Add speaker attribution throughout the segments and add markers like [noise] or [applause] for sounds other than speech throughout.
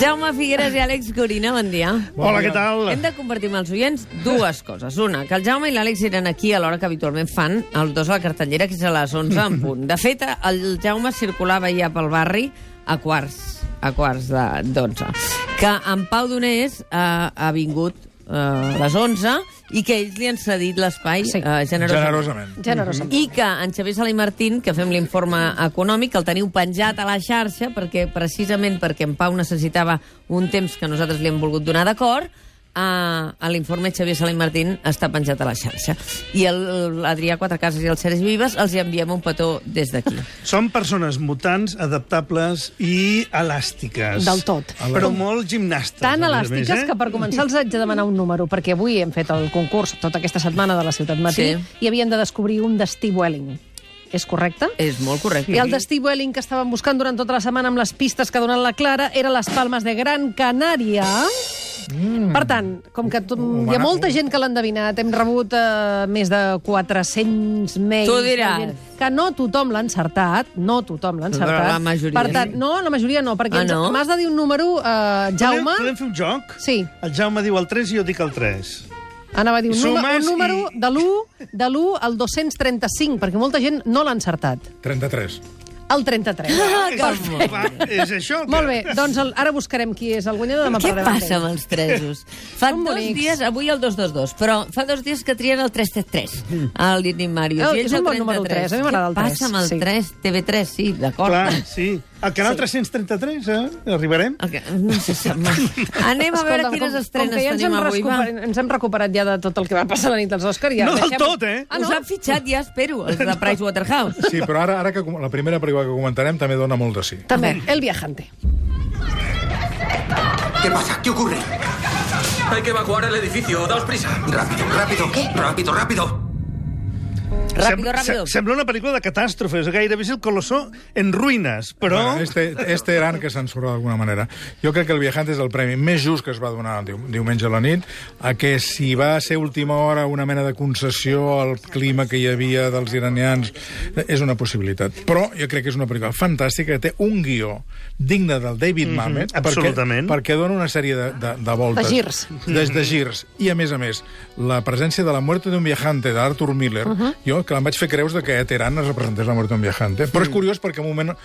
Speaker 1: Jaume Figueres i Àlex Corina, bon dia.
Speaker 2: Hola, què tal?
Speaker 1: Hem de compartir amb els oients dues coses. Una, que el Jaume i l'Àlex eren aquí a l'hora que habitualment fan, els dos a la cartellera, que és a les 11 en punt. De fet, el Jaume circulava ja pel barri a quarts, a quarts de- d'onze. Que en Pau Donés eh, ha vingut eh, a les 11 i que ells li han cedit l'espai
Speaker 3: Sí.
Speaker 1: eh, generosament.
Speaker 2: Generosament.
Speaker 4: Mhm.
Speaker 3: Generosament.
Speaker 1: I que en Xavier Sala i Martín, que fem l'informe econòmic, el teniu penjat a la xarxa perquè precisament perquè en Pau necessitava un temps que nosaltres li hem volgut donar d'acord, a, a l'informe Xavier Sala i Martín està penjat a la xarxa. I el- l'Adrià Quatre Cases i el Sergi Vives els hi enviem un petó des d'aquí.
Speaker 4: Són persones mutants, adaptables i elàstiques.
Speaker 3: Del tot.
Speaker 4: Però molt gimnastes.
Speaker 3: Tan
Speaker 4: a més a
Speaker 3: elàstiques
Speaker 4: més, eh?
Speaker 3: que per començar els haig de demanar un número, perquè avui hem fet el concurs tota aquesta setmana de la Ciutat Matí
Speaker 1: Sí.
Speaker 3: i havien de descobrir un de Steve Welling. És correcte?
Speaker 1: És molt correcte.
Speaker 3: I el de Steve Welling que estàvem buscant durant tota la setmana amb les pistes que ha donat la Clara era les Palmes de Gran Canària. Mm. Per tant, com que tot, hi ha molta gent que l'ha endevinat, hem rebut eh, més de 400 mails.
Speaker 1: Tu diràs.
Speaker 3: de gent Que no tothom l'ha encertat, no tothom l'ha encertat.
Speaker 1: Però la majoria
Speaker 3: Per tant,
Speaker 1: sí.
Speaker 3: no, la majoria no, perquè
Speaker 1: Ah,
Speaker 3: ens-
Speaker 1: no?
Speaker 3: m'has de dir un número, eh,
Speaker 4: Podem-
Speaker 3: Jaume.
Speaker 4: Podem fer un joc?
Speaker 3: Sí.
Speaker 4: El Jaume diu el 3 i jo dic el 3.
Speaker 3: Anava a dir un, número, un
Speaker 4: Sumes
Speaker 3: número
Speaker 4: i-
Speaker 3: de l'1 de l'1 al 235, perquè molta gent no l'ha encertat.
Speaker 2: 33.
Speaker 3: El 33.
Speaker 4: Ah, és, va, és això? que-
Speaker 3: Molt bé, doncs el, ara buscarem qui és el guanyador. Demà
Speaker 1: Què
Speaker 3: parlarem amb
Speaker 1: passa
Speaker 3: ell.
Speaker 1: amb els tresos? Fa
Speaker 3: Són
Speaker 1: dos
Speaker 3: bonics.
Speaker 1: dies, avui el 222, però fa dos dies que trien el 333, el Lini Màrius.
Speaker 3: Mm. Oh,
Speaker 1: i
Speaker 3: és
Speaker 1: ells
Speaker 3: un
Speaker 1: el
Speaker 3: bon número, el
Speaker 1: 33.
Speaker 3: tres, a mi m'agrada el
Speaker 1: Què passa
Speaker 3: tres,
Speaker 1: amb el
Speaker 3: sí.
Speaker 1: 3? TV3, sí,
Speaker 4: Clar,
Speaker 1: d'acord.
Speaker 4: sí. Al canal 333, eh? Arribarem?
Speaker 1: El que- No se sap mai. Anem a veure
Speaker 3: Escolta'm,
Speaker 1: quines
Speaker 3: com- com
Speaker 1: estrenes
Speaker 3: que ja ens
Speaker 1: tenim
Speaker 3: hem
Speaker 1: avui. Va.
Speaker 3: recuper- Ens hem recuperat ja de tot el que va passar la nit dels Òscar. Ja
Speaker 4: No del
Speaker 3: deixem-
Speaker 4: tot, eh?
Speaker 3: Ah,
Speaker 1: Us
Speaker 3: no?
Speaker 1: han fitxat ja, espero, els de Pricewaterhouse.
Speaker 2: Sí, però ara, ara que com- la primera pel·lícula que comentarem també dona molt de sí.
Speaker 3: També, El Viajante.
Speaker 5: ¿Qué pasa? ¿Qué ocurre?
Speaker 6: Hay que evacuar el edificio, daos prisa.
Speaker 5: Rápido, rápido. ¿Qué? Rápido, rápido.
Speaker 1: Ràpido,
Speaker 4: Sem-
Speaker 1: ràpido.
Speaker 4: se- Sembla una pel·lícula de catàstrofes. Gairebé és el Colossó en ruïnes, però...
Speaker 2: Bueno, este, este Eran que censura d'alguna manera. Jo crec que El viajante és el premi més just que es va donar diu, diumenge a la nit, a que si va ser última hora una mena de concessió al clima que hi havia dels iranians, eh, és una possibilitat. Però jo crec que és una pel·lícula fantàstica, que té un guió digne del David Mamet,
Speaker 4: absolutament.
Speaker 2: perquè, perquè dona una sèrie de, de, de voltes.
Speaker 3: De girs.
Speaker 2: Des de girs. I, a més a més, la presència de la muerte d'un viajante d'Arthur Miller, uh -huh.
Speaker 3: Mhm.
Speaker 2: jo que em vaig fer creus de que a Teheran es representés la muerte d'un viajante. Però és curiós perquè en un moment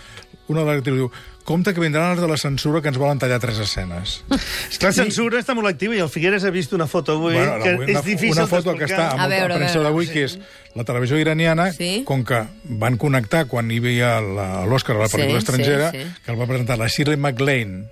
Speaker 2: una de les actrius diu compte que vindran els de la censura que ens volen tallar tres escenes.
Speaker 4: És que La censura està molt activa i el Figueres ha vist una foto avui
Speaker 2: Bueno,
Speaker 4: que
Speaker 2: avui
Speaker 4: és
Speaker 2: una,
Speaker 4: difícil
Speaker 2: una foto que està
Speaker 4: d'explicar.
Speaker 2: amb
Speaker 1: A
Speaker 2: a
Speaker 1: veure,
Speaker 2: veure,
Speaker 1: a
Speaker 2: la premsa
Speaker 1: veure.
Speaker 2: d'avui, que és la televisió iraniana,
Speaker 1: Sí.
Speaker 2: com que van connectar quan hi havia la- l'Òscar a la
Speaker 1: Sí,
Speaker 2: pel·lícula
Speaker 1: sí,
Speaker 2: estrangera,
Speaker 1: sí.
Speaker 2: que el va presentar la Shirley MacLaine,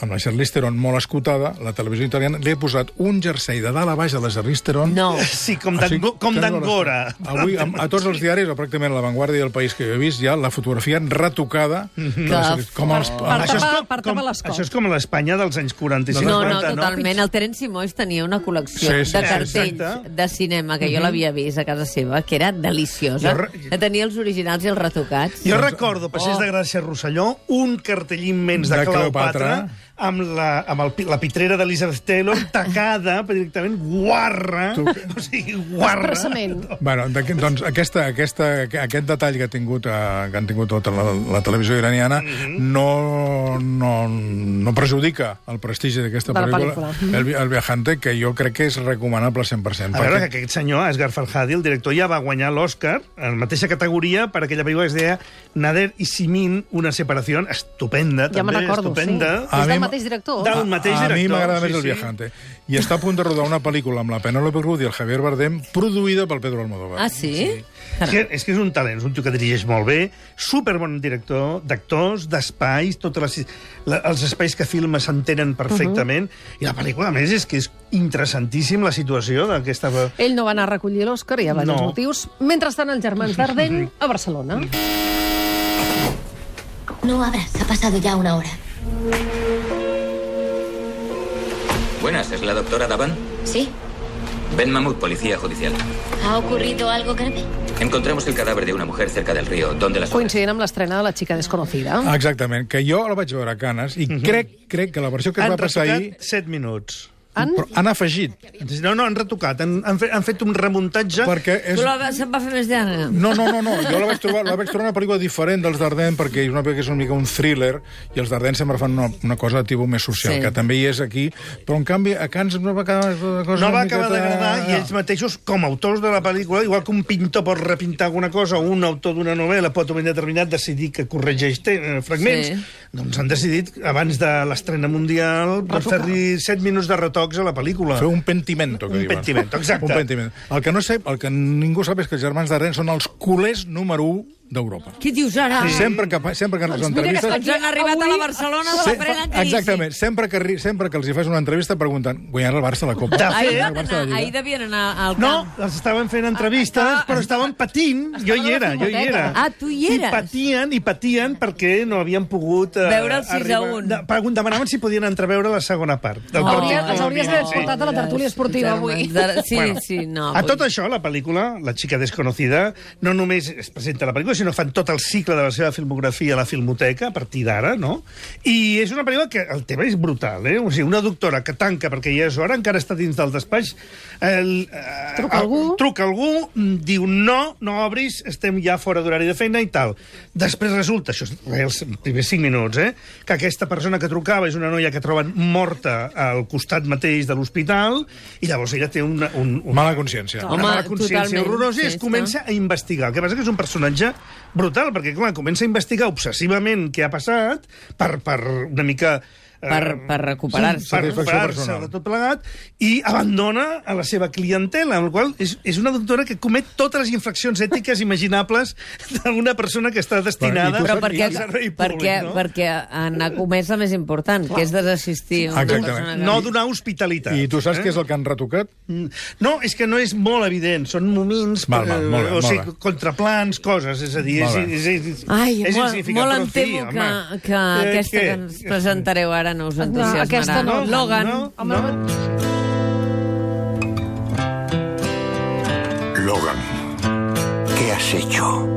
Speaker 2: amb la Charlize Theron molt escotada, la televisió italiana li ha posat un jersei de dalt a baix a la Charlize Theron.
Speaker 1: No.
Speaker 4: Sí, com
Speaker 2: O sigui,
Speaker 4: d'ango- com
Speaker 2: que no
Speaker 4: d'Angora.
Speaker 2: la- Avui, a, a tots els diaris, o pràcticament a La Vanguardia i El País que jo he vist, ja la fotografia retocada. de la
Speaker 1: Mm-hmm. Que
Speaker 2: Charlize- com els,
Speaker 3: Per
Speaker 4: Això és
Speaker 3: tapar-
Speaker 4: com-
Speaker 3: per tapar les
Speaker 4: com-
Speaker 3: cops.
Speaker 4: Això és com a l'Espanya dels anys 40 i
Speaker 1: No,
Speaker 4: 50,
Speaker 1: no, totalment. El Terence Simois tenia una col·lecció
Speaker 2: Sí, Mhm. sí,
Speaker 1: de
Speaker 2: sí,
Speaker 1: cartells
Speaker 4: exacte.
Speaker 1: de cinema, que jo l'havia vist a casa seva, que era deliciosa.
Speaker 4: Jo re-
Speaker 1: De tenir els originals i els retocats.
Speaker 4: Jo recordo, passés de Gràcia a Rosselló, un cartell immens de,
Speaker 2: De
Speaker 4: Cleopatra,
Speaker 2: Cleopatra.
Speaker 4: amb, la, amb el, pi- la pitrera d'Elizabeth Taylor tacada, [laughs] però directament guarra,
Speaker 2: Tu-
Speaker 4: o sigui, guarra.
Speaker 3: Expressament.
Speaker 2: Bueno, d'aquí- doncs aquesta, aquesta, aquest detall que ha tingut, eh, que han tingut tota la, la televisió iraniana mm -hmm.
Speaker 4: Mhm.
Speaker 2: no, no, no perjudica el prestigi d'aquesta
Speaker 3: De la
Speaker 2: pel·lícula,
Speaker 3: pel·lícula.
Speaker 2: El, vi- el Viajante, que jo crec que és recomanable 100%.
Speaker 4: A veure, que aquest senyor, Asghar Farhadi, el director, ja va guanyar l'Oscar en la mateixa categoria per aquella pel·lícula que es deia Nader i Simin, una separació estupenda,
Speaker 3: Ja me'n
Speaker 4: també,
Speaker 3: recordo,
Speaker 4: estupenda.
Speaker 3: sí. És
Speaker 2: A mi
Speaker 3: del
Speaker 2: m-
Speaker 3: mateix director.
Speaker 4: Del mateix
Speaker 2: a, a mi
Speaker 4: director,
Speaker 2: m'agrada
Speaker 4: sí,
Speaker 2: més El
Speaker 4: sí.
Speaker 2: Viajante. I està a punt de rodar una pel·lícula amb la Penélope Cruz i el Javier Bardem, produïda pel Pedro Almodóvar.
Speaker 1: Ah, sí?
Speaker 4: És que, és que és un talent, és un tio que dirigeix molt bé, superbon director, d'actors, d'espais, tots les, la, els espais que filma s'entenen perfectament,
Speaker 3: Mhm.
Speaker 4: i la pel·lícula, a més, és que és interessantíssim la situació d'aquesta...
Speaker 3: Ell no va anar a recollir l'Òscar, hi ha diversos
Speaker 4: No.
Speaker 3: motius. Mentrestant, els germans Dardenne a Barcelona.
Speaker 7: No abras, ha pasado ya una hora.
Speaker 6: Buenas, ¿es la doctora Davan?
Speaker 7: ¿Sí?
Speaker 6: Ben Mahmoud, policía judicial.
Speaker 7: ¿Ha ocurrido algo grave?
Speaker 6: Encontramos el cadáver de una mujer cerca del río, donde las...
Speaker 3: Coincidint amb l'estrena de La xica desconocida.
Speaker 2: Ah, Exactament, que jo la vaig veure a Canes i crec crec que la versió que es va
Speaker 4: Mhm. Han
Speaker 2: passar ahir...
Speaker 4: retocat 7 minuts.
Speaker 3: Han...
Speaker 2: Però han afegit,
Speaker 4: No, no, han retocat, han, han, fet, han fet un remuntatge...
Speaker 2: perquè és...
Speaker 1: Tu la, vas- se't va fer més llarga.
Speaker 2: No, no, no, no. jo la vaig trobar, la vaig trobar una pel·lícula diferent dels Dardenne, perquè és una pel·lícula que és una mica un thriller, i els Dardenne sempre fan una, una cosa de tipus més social,
Speaker 1: Sí.
Speaker 2: sí. que també hi és aquí, però en canvi a Cans no va acabar la cosa
Speaker 4: No
Speaker 2: una
Speaker 4: va
Speaker 2: miqueta-
Speaker 4: acabar d'agradar i ells
Speaker 2: No.
Speaker 4: mateixos, com a autors de la pel·lícula, igual que un pintor pot repintar alguna cosa o un autor d'una novel·la pot ben determinat decidir que corregeix te- eh, fragments,
Speaker 1: Sí.
Speaker 4: sí. doncs han decidit, abans de l'estrena mundial, per fer-li 7 minuts de retocs a la pel·lícula.
Speaker 2: Fer un pentimento, que
Speaker 4: Un
Speaker 2: diuen.
Speaker 4: pentimento, exacte.
Speaker 2: Un pentimento. El que, no sé, el que ningú sap és que els germans Dardenne són els culers número 1 d'europa.
Speaker 1: Què dius ara?
Speaker 2: Sí. Sempre que, fa- sempre que ens
Speaker 3: mira que
Speaker 2: entrevistes...
Speaker 3: està
Speaker 1: Ens han arribat a la Barcelona de
Speaker 2: Se-
Speaker 1: la prenen crisi.
Speaker 2: exactament, sempre que, arri- sempre que els hi fas una entrevista pregunten guanyarà el Barça la Copa?
Speaker 4: De
Speaker 1: Ahir,
Speaker 4: fet-
Speaker 1: van
Speaker 2: Barça de
Speaker 1: anar,
Speaker 2: Lliga.
Speaker 1: ahir devien anar al camp.
Speaker 4: No, els estaven fent entrevistes,
Speaker 1: Ah, ah,
Speaker 4: però estaven patint. Jo hi era, jo hi era.
Speaker 1: Ah, tu hi eres.
Speaker 4: I patien, i patien perquè no havien pogut... eh,
Speaker 1: Veure el sis a
Speaker 4: arribar-
Speaker 1: un.
Speaker 4: De- pregun- Demanaven si podien entreveure la segona part del
Speaker 1: Oh.
Speaker 4: partit.
Speaker 3: Hauria, els hauries d'haver
Speaker 1: Sí.
Speaker 3: portat a la tertúlia esportiva avui.
Speaker 1: Germans, Sí,
Speaker 4: Bueno,
Speaker 1: sí, no.
Speaker 4: A
Speaker 1: vull-
Speaker 4: tot això, la pel·lícula, La xica desconocida, no només es presenta a la pel·lícula, sinó fan tot el cicle de la seva filmografia a la Filmoteca, a partir d'ara, no? I és una pel·lícula que el tema és brutal, eh? O sigui, una doctora que tanca perquè ja és hora, encara està dins del despatx, el, eh,
Speaker 3: Truca algú.
Speaker 4: truca algú, mm, diu no, no obris, estem ja fora d'horari de feina i tal. Després resulta, això és res, els primers 5 minuts, eh, que aquesta persona que trucava és una noia que troben morta al costat mateix de l'hospital i llavors ella té una, un, un,
Speaker 2: Mala consciència.
Speaker 1: Home,
Speaker 4: una mala
Speaker 1: totalment,
Speaker 4: consciència horrorosa
Speaker 1: sí,
Speaker 4: i es
Speaker 1: està.
Speaker 4: comença a investigar. El que passa que és un personatge brutal, perquè, clar, comença a investigar obsessivament què ha passat per, per una mica... eh,
Speaker 1: Per- per recuperar-se.
Speaker 4: Per
Speaker 2: Satisfacció
Speaker 4: recuperar-se
Speaker 2: personal.
Speaker 4: de tot plegat i abandona a la seva clientela, amb la qual cosa és, és una doctora que comet totes les infraccions ètiques imaginables d'una persona que està destinada
Speaker 1: Però
Speaker 4: al
Speaker 1: perquè,
Speaker 4: servei
Speaker 1: perquè,
Speaker 4: públic, no?
Speaker 1: perquè anar comès la més important, que és desassistir una
Speaker 2: Exactament.
Speaker 1: persona gran.
Speaker 4: no donar hospitalitat.
Speaker 2: I tu saps què és el que han retocat?
Speaker 4: Mm, No, és que no és molt evident, són moments,
Speaker 2: Val, val,
Speaker 4: eh,
Speaker 2: molt bé,
Speaker 4: o
Speaker 2: molt
Speaker 4: sigui,
Speaker 2: bé.
Speaker 4: contraplans, coses, és a dir, és,
Speaker 2: Molt bé.
Speaker 4: és, és, és,
Speaker 1: Ai,
Speaker 4: és
Speaker 1: molt,
Speaker 4: insignificant,
Speaker 1: molt
Speaker 4: però
Speaker 1: em
Speaker 4: en fi,
Speaker 1: temo que,
Speaker 4: home.
Speaker 1: que
Speaker 4: Eh,
Speaker 1: aquesta
Speaker 4: què?
Speaker 1: que ens presentareu ara no us
Speaker 3: No,
Speaker 1: entusiasmarà.
Speaker 3: aquesta no.
Speaker 1: Logan.
Speaker 4: no,
Speaker 3: Home,
Speaker 4: no.
Speaker 5: Logan, ¿qué has hecho?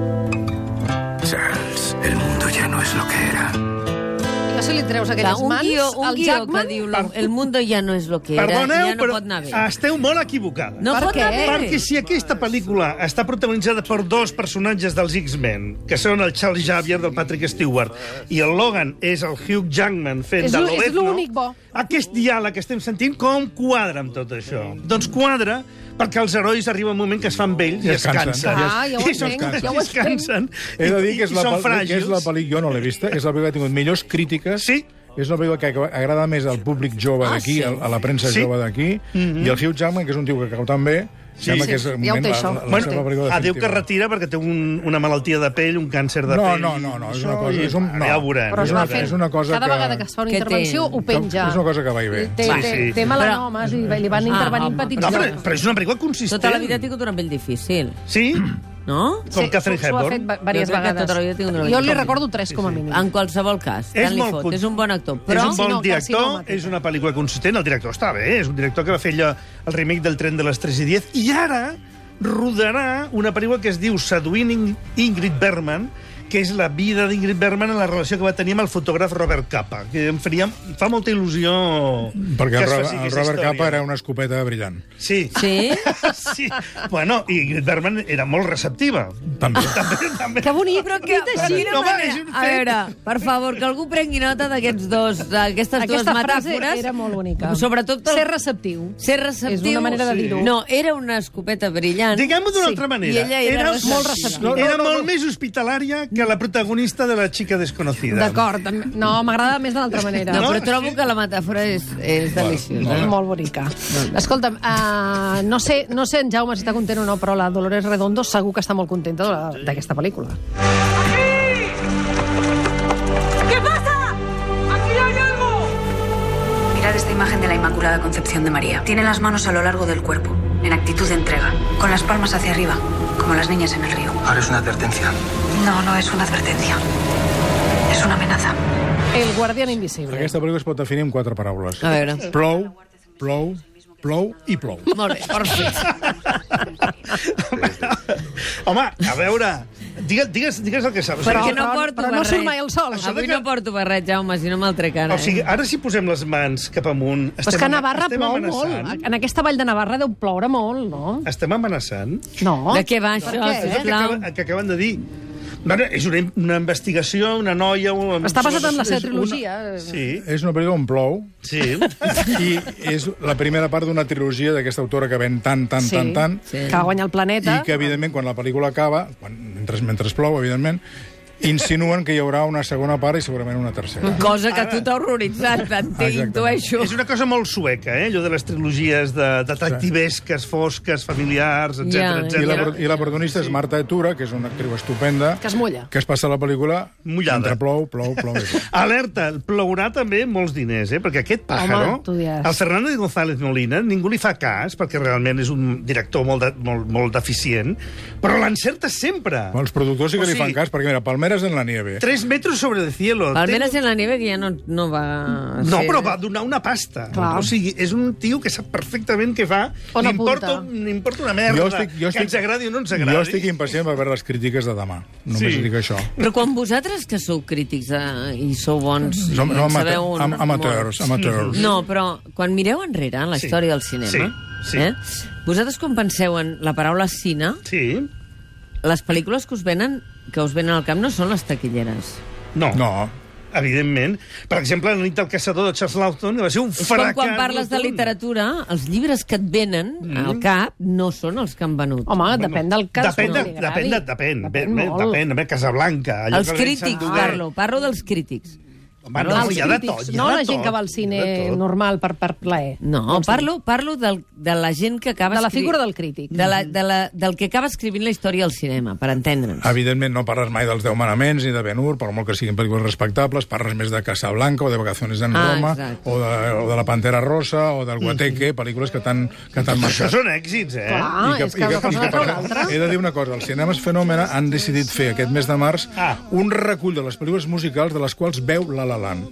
Speaker 5: Charles, el mundo ya no es lo que era.
Speaker 3: No se li treus
Speaker 1: Clar,
Speaker 3: aquelles
Speaker 1: un
Speaker 3: mans
Speaker 1: guió, un
Speaker 3: al
Speaker 1: guió que
Speaker 3: Jackman?
Speaker 1: diu lo- el mundo ja no és lo que era,
Speaker 4: Perdoneu,
Speaker 1: ja no
Speaker 4: però Ah,
Speaker 1: pot anar bé.
Speaker 4: esteu molt equivocades.
Speaker 1: no
Speaker 3: Per
Speaker 1: pot
Speaker 3: què?
Speaker 1: anar bé.
Speaker 4: Perquè si aquesta pel·lícula està protagonitzada per dos personatges dels X-Men, que són el Charles Xavier del Patrick Stewart i el Logan és el Hugh Jackman fent
Speaker 3: És
Speaker 4: de
Speaker 3: l'ú-
Speaker 4: l'Obed,
Speaker 3: és l'únic bo.
Speaker 4: Aquest diàleg que estem sentint, com quadra amb tot això? Doncs quadra perquè els herois arriba un moment que es fan vells i,
Speaker 2: I es
Speaker 4: es cansen.
Speaker 2: cansen.
Speaker 3: Ah, ja ho
Speaker 4: I són-
Speaker 3: entenc, ja ho
Speaker 4: i es cansen.
Speaker 2: He de dir que és
Speaker 4: I
Speaker 2: la,
Speaker 4: són
Speaker 2: pel- que és la
Speaker 4: fràgils.
Speaker 2: pel·lícula, jo no l'he vista, és la pel·lícula que ha tingut millors crítiques.
Speaker 4: Sí. Ah,
Speaker 2: És una pel·lícula que agrada més al públic jove d'aquí,
Speaker 1: sí.
Speaker 2: a, a la premsa
Speaker 4: Sí. Mhm.
Speaker 2: jove d'aquí, i el Hugh Jackman, que és un tio que cau tan bé, sembla que és
Speaker 3: sí,
Speaker 2: el
Speaker 3: ja ho
Speaker 2: moment
Speaker 3: té,
Speaker 2: la,
Speaker 3: això.
Speaker 2: la, la
Speaker 3: Bueno,
Speaker 2: seva pel·lícula
Speaker 4: Adéu que
Speaker 2: definitiva.
Speaker 4: es retira perquè té un, una malaltia de pell, un càncer de
Speaker 2: No,
Speaker 4: pell.
Speaker 2: no, no, no, és una
Speaker 4: Això,
Speaker 2: cosa-
Speaker 4: i-
Speaker 2: és un- no.
Speaker 4: Ja ho veurem.
Speaker 3: Però
Speaker 2: és
Speaker 3: es
Speaker 4: ja ho
Speaker 3: va
Speaker 2: una-
Speaker 4: veurem.
Speaker 3: fent.
Speaker 2: és una cosa
Speaker 3: Cada
Speaker 2: que-
Speaker 3: vegada que es fa una
Speaker 1: que
Speaker 3: intervenció
Speaker 1: té-
Speaker 3: ho penja.
Speaker 2: és una cosa que va i ve.
Speaker 3: Té,
Speaker 1: Sí,
Speaker 3: té,
Speaker 4: sí.
Speaker 3: té
Speaker 1: Però-
Speaker 3: melanomes i li van intervenint
Speaker 1: Ah,
Speaker 3: petits...
Speaker 4: No,
Speaker 1: home,
Speaker 4: però, però és una pel·lícula consistent.
Speaker 1: Tota la vida he tingut una pell difícil,
Speaker 4: Sí?
Speaker 1: no?
Speaker 4: Com Catherine
Speaker 3: s'ho- s'ho ha
Speaker 4: Hepburn.
Speaker 3: fet va-
Speaker 1: Jo
Speaker 3: diverses
Speaker 1: crec que
Speaker 3: vegades.
Speaker 1: tota la vida he tingut una
Speaker 3: Jo
Speaker 1: mica
Speaker 3: li
Speaker 1: com-
Speaker 3: recordo tres, com a mínim.
Speaker 1: En qualsevol cas,
Speaker 4: És
Speaker 1: tant li
Speaker 4: molt
Speaker 1: fot.
Speaker 4: cult.
Speaker 1: És un bon actor,
Speaker 4: Però,
Speaker 1: però...
Speaker 4: és un bon
Speaker 3: no,
Speaker 4: director,
Speaker 3: calcinòmetre.
Speaker 4: és una pel·lícula consistent, el director està bé, és un director que va fer allò, el remake del tren de les 3 i 10, i ara rodarà una pel·lícula que es diu Seduint In- Ingrid Bergman, que és la vida d'Ingrid Bergman en la relació que va tenir amb el fotògraf Robert Capa, que em, faria, em fa molta il·lusió
Speaker 2: Perquè
Speaker 4: que
Speaker 2: el,
Speaker 4: es
Speaker 2: Robert,
Speaker 4: faci
Speaker 2: el
Speaker 4: aquesta
Speaker 2: Robert
Speaker 4: història.
Speaker 2: Capa era una escopeta brillant.
Speaker 4: Sí.
Speaker 1: Sí?
Speaker 4: [laughs] sí. Bueno, i Ingrid Bergman era molt receptiva.
Speaker 2: També.
Speaker 4: [laughs] També, també.
Speaker 3: Que bonic,
Speaker 1: Però que,
Speaker 3: dit
Speaker 1: però
Speaker 3: així,
Speaker 1: quina
Speaker 4: no, va,
Speaker 1: manera-
Speaker 4: és
Speaker 1: a
Speaker 4: un fet.
Speaker 1: veure, per favor, que algú prengui nota d'aquests dos, d'aquestes dues
Speaker 3: Aquesta frase
Speaker 1: metàfores.
Speaker 3: era molt bonica.
Speaker 1: Sobretot el,
Speaker 3: Ser receptiu.
Speaker 1: ser receptiu.
Speaker 3: És una manera de
Speaker 1: Sí.
Speaker 3: dir-ho.
Speaker 1: No, era una escopeta brillant.
Speaker 4: Diguem-ho d'una
Speaker 3: Sí.
Speaker 4: altra
Speaker 1: I
Speaker 4: manera.
Speaker 1: ella era molt
Speaker 3: receptiva.
Speaker 4: No, no, era molt més hospitalària que la protagonista de La xica desconocida. [laughs]
Speaker 3: D'acord. em- No, m'agrada més de l'altra manera.
Speaker 1: No,
Speaker 4: No?
Speaker 1: però trobo que la metàfora és, és deliciosa.
Speaker 3: És molt bonica. Escolta'm, uh, no, sé, no sé en Jaume si està content o no, però la Dolores Redondo segur que està molt contenta de la- d'aquesta pel·lícula.
Speaker 8: ¿Qué pasa? ¡Aquí hay algo!
Speaker 9: Mirad esta imagen de la Inmaculada Concepción de María. Tiene las manos a lo largo del cuerpo, en actitud de entrega, con las palmas hacia arriba, como las niñas en el río.
Speaker 5: Ahora es una advertencia.
Speaker 9: No, no es una advertencia. Es una amenaza.
Speaker 3: El guardián invisible.
Speaker 2: Aquesta pel·lícula es pot definir amb quatre
Speaker 4: Ah.
Speaker 2: paraules.
Speaker 1: A veure.
Speaker 2: Plou, plou, plou i plou.
Speaker 1: Molt bé, perfecte.
Speaker 4: Home, a veure, digues, digues, digues el que saps.
Speaker 3: Però-
Speaker 1: Perquè no
Speaker 3: però-
Speaker 1: porto
Speaker 3: però no
Speaker 1: barret.
Speaker 3: surt mai el sol.
Speaker 4: Això de
Speaker 1: Avui
Speaker 4: que-
Speaker 1: no porto barret, Jaume, si no me'l trec ara.
Speaker 4: O sigui, ara si posem les mans cap amunt...
Speaker 3: Però és que a Navarra
Speaker 4: estem
Speaker 3: plou
Speaker 4: amenaçant,
Speaker 3: molt. En aquesta vall de Navarra deu ploure molt, no?
Speaker 4: Estem amenaçant.
Speaker 3: No.
Speaker 1: eh? De què va això,
Speaker 3: què?
Speaker 4: És el que,
Speaker 1: sisplau?
Speaker 4: acaba, que acaben de dir. Bueno, és una, una investigació, una noia... Un,
Speaker 3: Està basat en la
Speaker 4: és
Speaker 3: seva
Speaker 4: una-
Speaker 3: trilogia.
Speaker 4: Sí,
Speaker 2: És una pel·lícula on plou,
Speaker 3: [laughs]
Speaker 4: sí.
Speaker 2: i és la primera part d'una trilogia d'aquesta autora que ven tant, tant,
Speaker 3: Sí.
Speaker 2: tant, tant,
Speaker 1: Sí.
Speaker 3: Que va guanyar el planeta.
Speaker 2: i que, evidentment, quan la pel·lícula acaba, quan, mentre, mentre plou, evidentment, insinuen que hi haurà una segona part i segurament una tercera.
Speaker 1: Cosa que tu t'ha horroritzat, t'entenc,
Speaker 2: Exactament.
Speaker 1: intueixo.
Speaker 4: És una cosa molt sueca, eh? allò de les trilogies de detectivesques, fosques, familiars, etc
Speaker 1: Ja,
Speaker 4: yeah,
Speaker 2: I la,
Speaker 1: Era-
Speaker 2: pro- I la protagonista és Marta Etura, que és una actriu estupenda,
Speaker 3: Que es mulla.
Speaker 2: que es passa la pel·lícula
Speaker 4: Mullada.
Speaker 2: entre plou, plou, plou. i plou.
Speaker 4: Alerta, plourà també molts diners, eh? perquè aquest pàjaro,
Speaker 3: tu diràs.
Speaker 4: el Fernández González Molina, ningú li fa cas, perquè realment és un director molt, de, molt, molt deficient, però l'encerta sempre.
Speaker 2: Bueno, els productors sí
Speaker 4: O
Speaker 2: que li
Speaker 4: sigui-
Speaker 2: fan cas, perquè, mira, Palmeres en la nieve.
Speaker 4: 3 metres sobre el cielo.
Speaker 1: Almenys en la neve que ja no, no va...
Speaker 4: No,
Speaker 1: ser-
Speaker 4: però va donar una pasta.
Speaker 3: Clar.
Speaker 4: O sigui, és un tio que sap perfectament què fa.
Speaker 3: On
Speaker 4: N'importa
Speaker 3: apunta.
Speaker 4: n'importa una merda, que ens agradi o no ens agradi.
Speaker 2: Jo estic impacient per veure les crítiques de demà. Només
Speaker 4: Sí.
Speaker 2: sí. dic això.
Speaker 1: Però quan vosaltres que sou crítics eh, i sou bons...
Speaker 4: Mm.
Speaker 1: i
Speaker 2: Som, no,
Speaker 1: en
Speaker 2: amate-
Speaker 1: sabeu un-
Speaker 2: am amateurs,
Speaker 1: molt.
Speaker 2: amateurs.
Speaker 1: No, però quan mireu enrere en la
Speaker 4: Sí.
Speaker 1: història del cinema,
Speaker 4: Sí, sí.
Speaker 1: Eh, vosaltres quan penseu en la paraula cine,
Speaker 4: Sí.
Speaker 1: les pel·lícules que us venen que us venen al camp no són les taquilleres.
Speaker 4: No.
Speaker 2: No.
Speaker 4: Evidentment. Per exemple, la nit del caçador de Charles Lawton va ser un
Speaker 1: És com
Speaker 4: fracàs.
Speaker 1: quan parles de
Speaker 4: rotund. Mm.
Speaker 1: literatura, els llibres que et venen al cap no són els que han venut.
Speaker 3: Home, depèn del cas.
Speaker 4: Depèn,
Speaker 3: no?
Speaker 4: de, depèn, de, depèn, depèn, depèn,
Speaker 3: molt.
Speaker 4: depèn, depèn, Casablanca. allò
Speaker 1: els
Speaker 4: que Vincent
Speaker 1: crítics,
Speaker 4: Duguay.
Speaker 1: parlo, parlo dels crítics.
Speaker 4: Home, no,
Speaker 3: Ah, els
Speaker 4: hi ha de
Speaker 3: crítics,
Speaker 4: tot, hi ha
Speaker 3: no
Speaker 4: de
Speaker 3: la gent
Speaker 4: tot,
Speaker 3: que va al
Speaker 4: hi ha
Speaker 3: cine
Speaker 4: de tot.
Speaker 3: normal per, per plaer.
Speaker 1: No, parlo, parlo del, de la gent que acaba...
Speaker 3: De la
Speaker 1: escri-
Speaker 3: figura del crític.
Speaker 1: De la, de la, del que acaba escrivint la història del cinema, per entendre'ns.
Speaker 2: Evidentment, no parles mai dels Deu Manaments ni de Ben Hur, per molt que siguin pel·lícules respectables, parles més de Casablanca o de Vacaciones en
Speaker 1: Ah,
Speaker 2: Roma,
Speaker 1: exacte.
Speaker 2: o de, o de La Pantera Rosa, o del Guateque, pel·lícules que t'han que
Speaker 4: Això
Speaker 2: t'han marcat.
Speaker 4: són èxits, eh?
Speaker 3: Clar. Ah, és que una cosa treu l'altra.
Speaker 2: He de dir una cosa, els cinemes Fenòmena han decidit fer aquest mes de març
Speaker 4: Ah.
Speaker 2: un recull de les pel·lícules musicals de les quals veu La La
Speaker 1: Home,
Speaker 2: Land.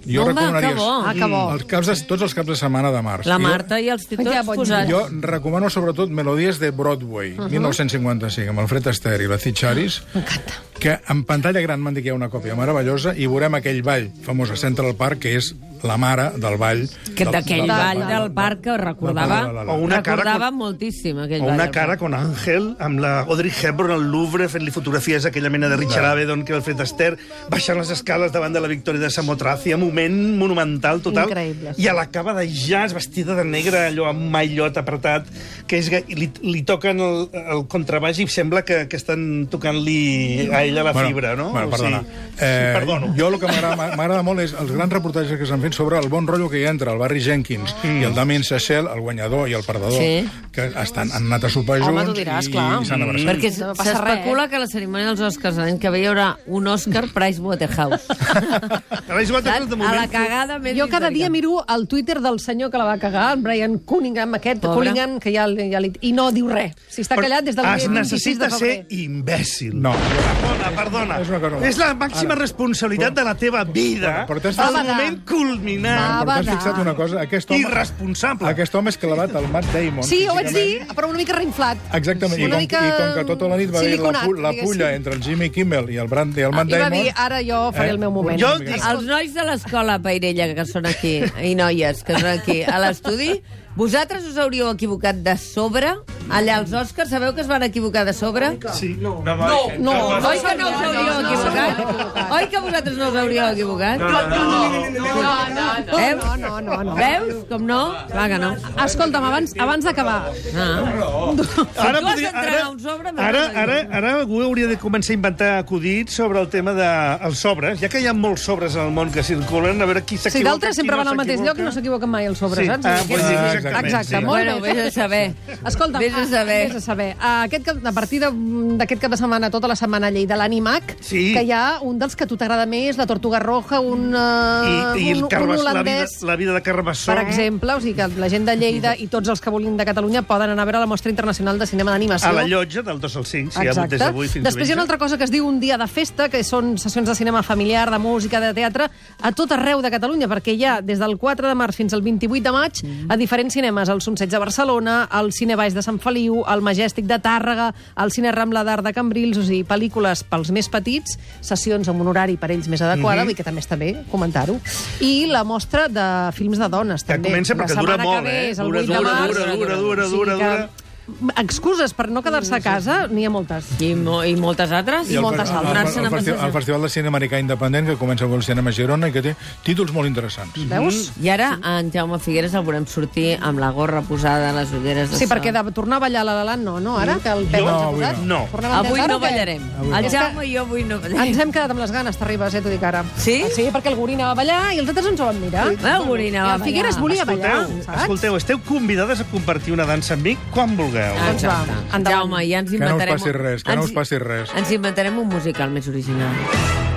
Speaker 1: que bo.
Speaker 3: Ah, que bo.
Speaker 2: els caps de, tots els caps de setmana de març.
Speaker 1: La
Speaker 2: Jo-
Speaker 1: Marta i els eh, té tots
Speaker 3: Ja, bon
Speaker 1: posats.
Speaker 2: Jo recomano sobretot melodies de Broadway, uh -huh. 1955, amb Alfred Astaire i la Cicharis. M'encanta. Que en pantalla gran m'han dit que hi ha una còpia meravellosa i veurem aquell ball famós a Central Park, que és la mare del ball...
Speaker 1: Que
Speaker 2: del-
Speaker 1: d'aquell
Speaker 2: del-
Speaker 1: ball del parc que recordava,
Speaker 2: la, la, la.
Speaker 4: O una cara
Speaker 1: recordava
Speaker 4: com-
Speaker 1: moltíssim aquell
Speaker 4: O
Speaker 1: ball.
Speaker 4: una
Speaker 1: del
Speaker 4: cara
Speaker 1: parc.
Speaker 4: con Ángel, amb la Audrey Hepburn al Louvre, fent-li fotografies a aquella mena de Richard Avedon que Alfred Astaire, baixant les escales davant de la victòria de Samotràcia, moment monumental total.
Speaker 3: Increïble, sí.
Speaker 4: I a la cava de jazz, vestida de negre, allò amb maillot apretat, que és, gai- li, li toquen el, el contrabaix i sembla que, que estan tocant-li a ella la fibra, no?
Speaker 2: Bueno,
Speaker 4: O
Speaker 2: perdona. Eh,
Speaker 4: sigui, sí, perdono.
Speaker 2: Jo el que m'agrada m'agrada molt és els grans reportatges que s'han fet sobre el bon rotllo que hi ha entre el Barry Jenkins
Speaker 4: Mm.
Speaker 2: i el Damien Sachel, el guanyador i el perdedor,
Speaker 1: Sí.
Speaker 2: que estan, han anat a sopar
Speaker 3: Home,
Speaker 2: junts
Speaker 3: t'ho diràs,
Speaker 2: i,
Speaker 3: clar.
Speaker 2: i s'han abraçat.
Speaker 1: Perquè
Speaker 3: Mm. No passa
Speaker 1: s'especula
Speaker 3: res,
Speaker 1: que a la cerimònia dels Oscars l'any que ve hi haurà un Oscar Price
Speaker 4: [laughs]
Speaker 1: Waterhouse.
Speaker 4: [laughs] Ara és
Speaker 1: Saps?
Speaker 4: de
Speaker 1: a la
Speaker 4: moment...
Speaker 1: cagada més
Speaker 3: Jo cada dia
Speaker 1: històrica.
Speaker 3: miro el Twitter del senyor que la va cagar, el Brian Cunningham, aquest
Speaker 1: Pobre.
Speaker 3: Cunningham, que ja, li- ja li... I no diu res. Si està callat des del
Speaker 4: Es
Speaker 3: 26
Speaker 4: necessita
Speaker 3: de
Speaker 4: ser
Speaker 3: febrer.
Speaker 4: imbècil.
Speaker 2: No.
Speaker 4: Perdona, perdona.
Speaker 2: És una cosa-
Speaker 4: És la màxima responsabilitat de la teva vida.
Speaker 2: Però t'has-
Speaker 4: El
Speaker 3: Va badar.
Speaker 4: moment culminant.
Speaker 2: Però t'has
Speaker 3: Badar.
Speaker 2: fixat una cosa? Aquest home,
Speaker 4: Irresponsable.
Speaker 2: Aquest home és clavat al Matt Damon.
Speaker 3: Sí, ho vaig dir,
Speaker 2: físicament.
Speaker 3: però una mica reinflat.
Speaker 2: Exactament, I,
Speaker 3: Una
Speaker 2: com,
Speaker 3: mica
Speaker 2: i com que tota la nit va haver la,
Speaker 3: siliconat,
Speaker 2: pu- la
Speaker 3: diguéssim.
Speaker 2: pulla entre el Jimmy Kimmel i el, Brand, i el Matt
Speaker 3: Ah, I va
Speaker 2: Damon...
Speaker 3: dir, ara jo faré
Speaker 2: Eh?
Speaker 3: el meu moment.
Speaker 4: Jo dic...
Speaker 1: Els nois de l'escola Pairella, que són aquí, i noies que són aquí a l'estudi, vosaltres us hauríeu equivocat de sobre? Allà als Oscars, sabeu que es van equivocar de sobre?
Speaker 4: Sí. No, no, no.
Speaker 3: No,
Speaker 1: Oi que no us hauríeu equivocat? Oi que vosaltres no us hauríeu equivocat? No, no,
Speaker 3: no, no, no, no.
Speaker 1: Veus? Com no? Clar que no.
Speaker 3: Escolta'm, abans, abans d'acabar,
Speaker 1: Ah.
Speaker 4: Ara,
Speaker 1: Tu has
Speaker 4: podria-
Speaker 1: d'entregar un sobre, m'has
Speaker 4: ara,
Speaker 1: de dir.
Speaker 4: ara, ara algú hauria de començar a inventar acudits sobre el tema dels de, els sobres, ja que hi ha molts sobres en el món que circulen, a veure qui
Speaker 3: Sí,
Speaker 4: s'equivoca,
Speaker 3: d'altres sempre
Speaker 4: qui no
Speaker 3: van al mateix lloc i no
Speaker 4: s'equivoca.
Speaker 3: s'equivoquen mai els sobres,
Speaker 4: Sí.
Speaker 3: saps? Eh,
Speaker 4: Ah, pues sí, exactament,
Speaker 3: Exacte,
Speaker 4: sí.
Speaker 3: molt
Speaker 1: Bueno,
Speaker 3: bé.
Speaker 1: vés a saber.
Speaker 3: Escolta,
Speaker 1: Vés a saber.
Speaker 3: Vés a saber. Ah, Aquest cap, a partir de- d'aquest cap de setmana, tota la setmana a Lleida, l'Animac,
Speaker 4: Sí.
Speaker 3: que hi ha un dels que a tu t'agrada més, la Tortuga Roja, un, eh,
Speaker 4: I, i el
Speaker 3: un, un
Speaker 4: Carbassó, la, vida,
Speaker 3: holandès...
Speaker 4: la vida de Carbassó.
Speaker 3: Per exemple, o sigui que la gent de Lleida i tots els que vulguin de Catalunya poden anar a veure la Mostra Internacional de Cinema d'Animació.
Speaker 4: A la llotja, del 2 al 5, si hi ha hagut
Speaker 3: Exacte.
Speaker 4: des d'avui fins
Speaker 3: Després hi ha una
Speaker 4: diumenge.
Speaker 3: altra cosa que es diu un dia de festa, que són sessions de cinema familiar, de música, de teatre, a tot arreu de Catalunya, perquè hi ha des del 4 de març fins al 28 de maig a diferents diferents cinemes, al Sonseig de Barcelona, al Cine Baix de Sant Feliu, al Majestic de Tàrrega, al Cine Rambla d'Art de Cambrils, o sigui, pel·lícules pels més petits, sessions amb un horari per ells més adequat,
Speaker 4: Mhm.
Speaker 3: mm -hmm. que també està bé comentar-ho, i la mostra de films de dones,
Speaker 4: Que
Speaker 3: també.
Speaker 4: comença perquè
Speaker 3: la
Speaker 4: dura
Speaker 3: setmana que
Speaker 4: molt,
Speaker 3: ve
Speaker 4: eh?
Speaker 3: és el
Speaker 4: Dura,
Speaker 3: 8 de
Speaker 4: dura,
Speaker 3: març.
Speaker 4: dura, dura, dura,
Speaker 3: O sigui
Speaker 4: dura,
Speaker 3: que
Speaker 4: dura.
Speaker 3: Excuses per no quedar-se a casa, n'hi ha moltes.
Speaker 1: I, mo i moltes altres?
Speaker 3: I
Speaker 2: el,
Speaker 3: moltes
Speaker 2: fe- el,
Speaker 3: altres.
Speaker 2: el, el, festi- el Festival de Cine Americà Independent, que comença amb el cinema a Girona i que té títols molt interessants.
Speaker 4: Mm-hmm.
Speaker 3: Veus?
Speaker 1: I ara en Jaume Figueres el volem sortir amb la gorra posada, les ulleres de
Speaker 3: Sí,
Speaker 1: sol.
Speaker 3: perquè de tornar a ballar a la la Land, no, no, ara, que el Pep
Speaker 4: No,
Speaker 3: ens ha
Speaker 2: avui
Speaker 3: posat.
Speaker 4: no. No.
Speaker 3: Tornem al
Speaker 1: Avui
Speaker 3: Pep,
Speaker 1: no
Speaker 3: ara, o què?
Speaker 1: ballarem.
Speaker 2: Avui
Speaker 1: El
Speaker 3: no.
Speaker 1: Jaume i jo avui no ballarem.
Speaker 3: Ens hem quedat amb les ganes, t'arribes, eh, t'ho dic ara.
Speaker 1: Sí? Ah,
Speaker 3: Sí, perquè el Gorina va ballar i els altres ens ho van mirar.
Speaker 1: El Gorina va
Speaker 3: I el Figueres
Speaker 1: ballar.
Speaker 3: volia ballar,
Speaker 4: Escolteu,
Speaker 3: saps?
Speaker 4: escolteu, esteu convidades a compartir una dansa amb mi quan vulgueu.
Speaker 1: Ah,
Speaker 3: Doncs va,
Speaker 1: exacte.
Speaker 3: endavant.
Speaker 1: Jaume, ja ens
Speaker 2: Que no us
Speaker 1: inventarem...
Speaker 2: passi res, que no
Speaker 1: ens-
Speaker 2: us passi res.
Speaker 1: Ens inventarem un musical més original.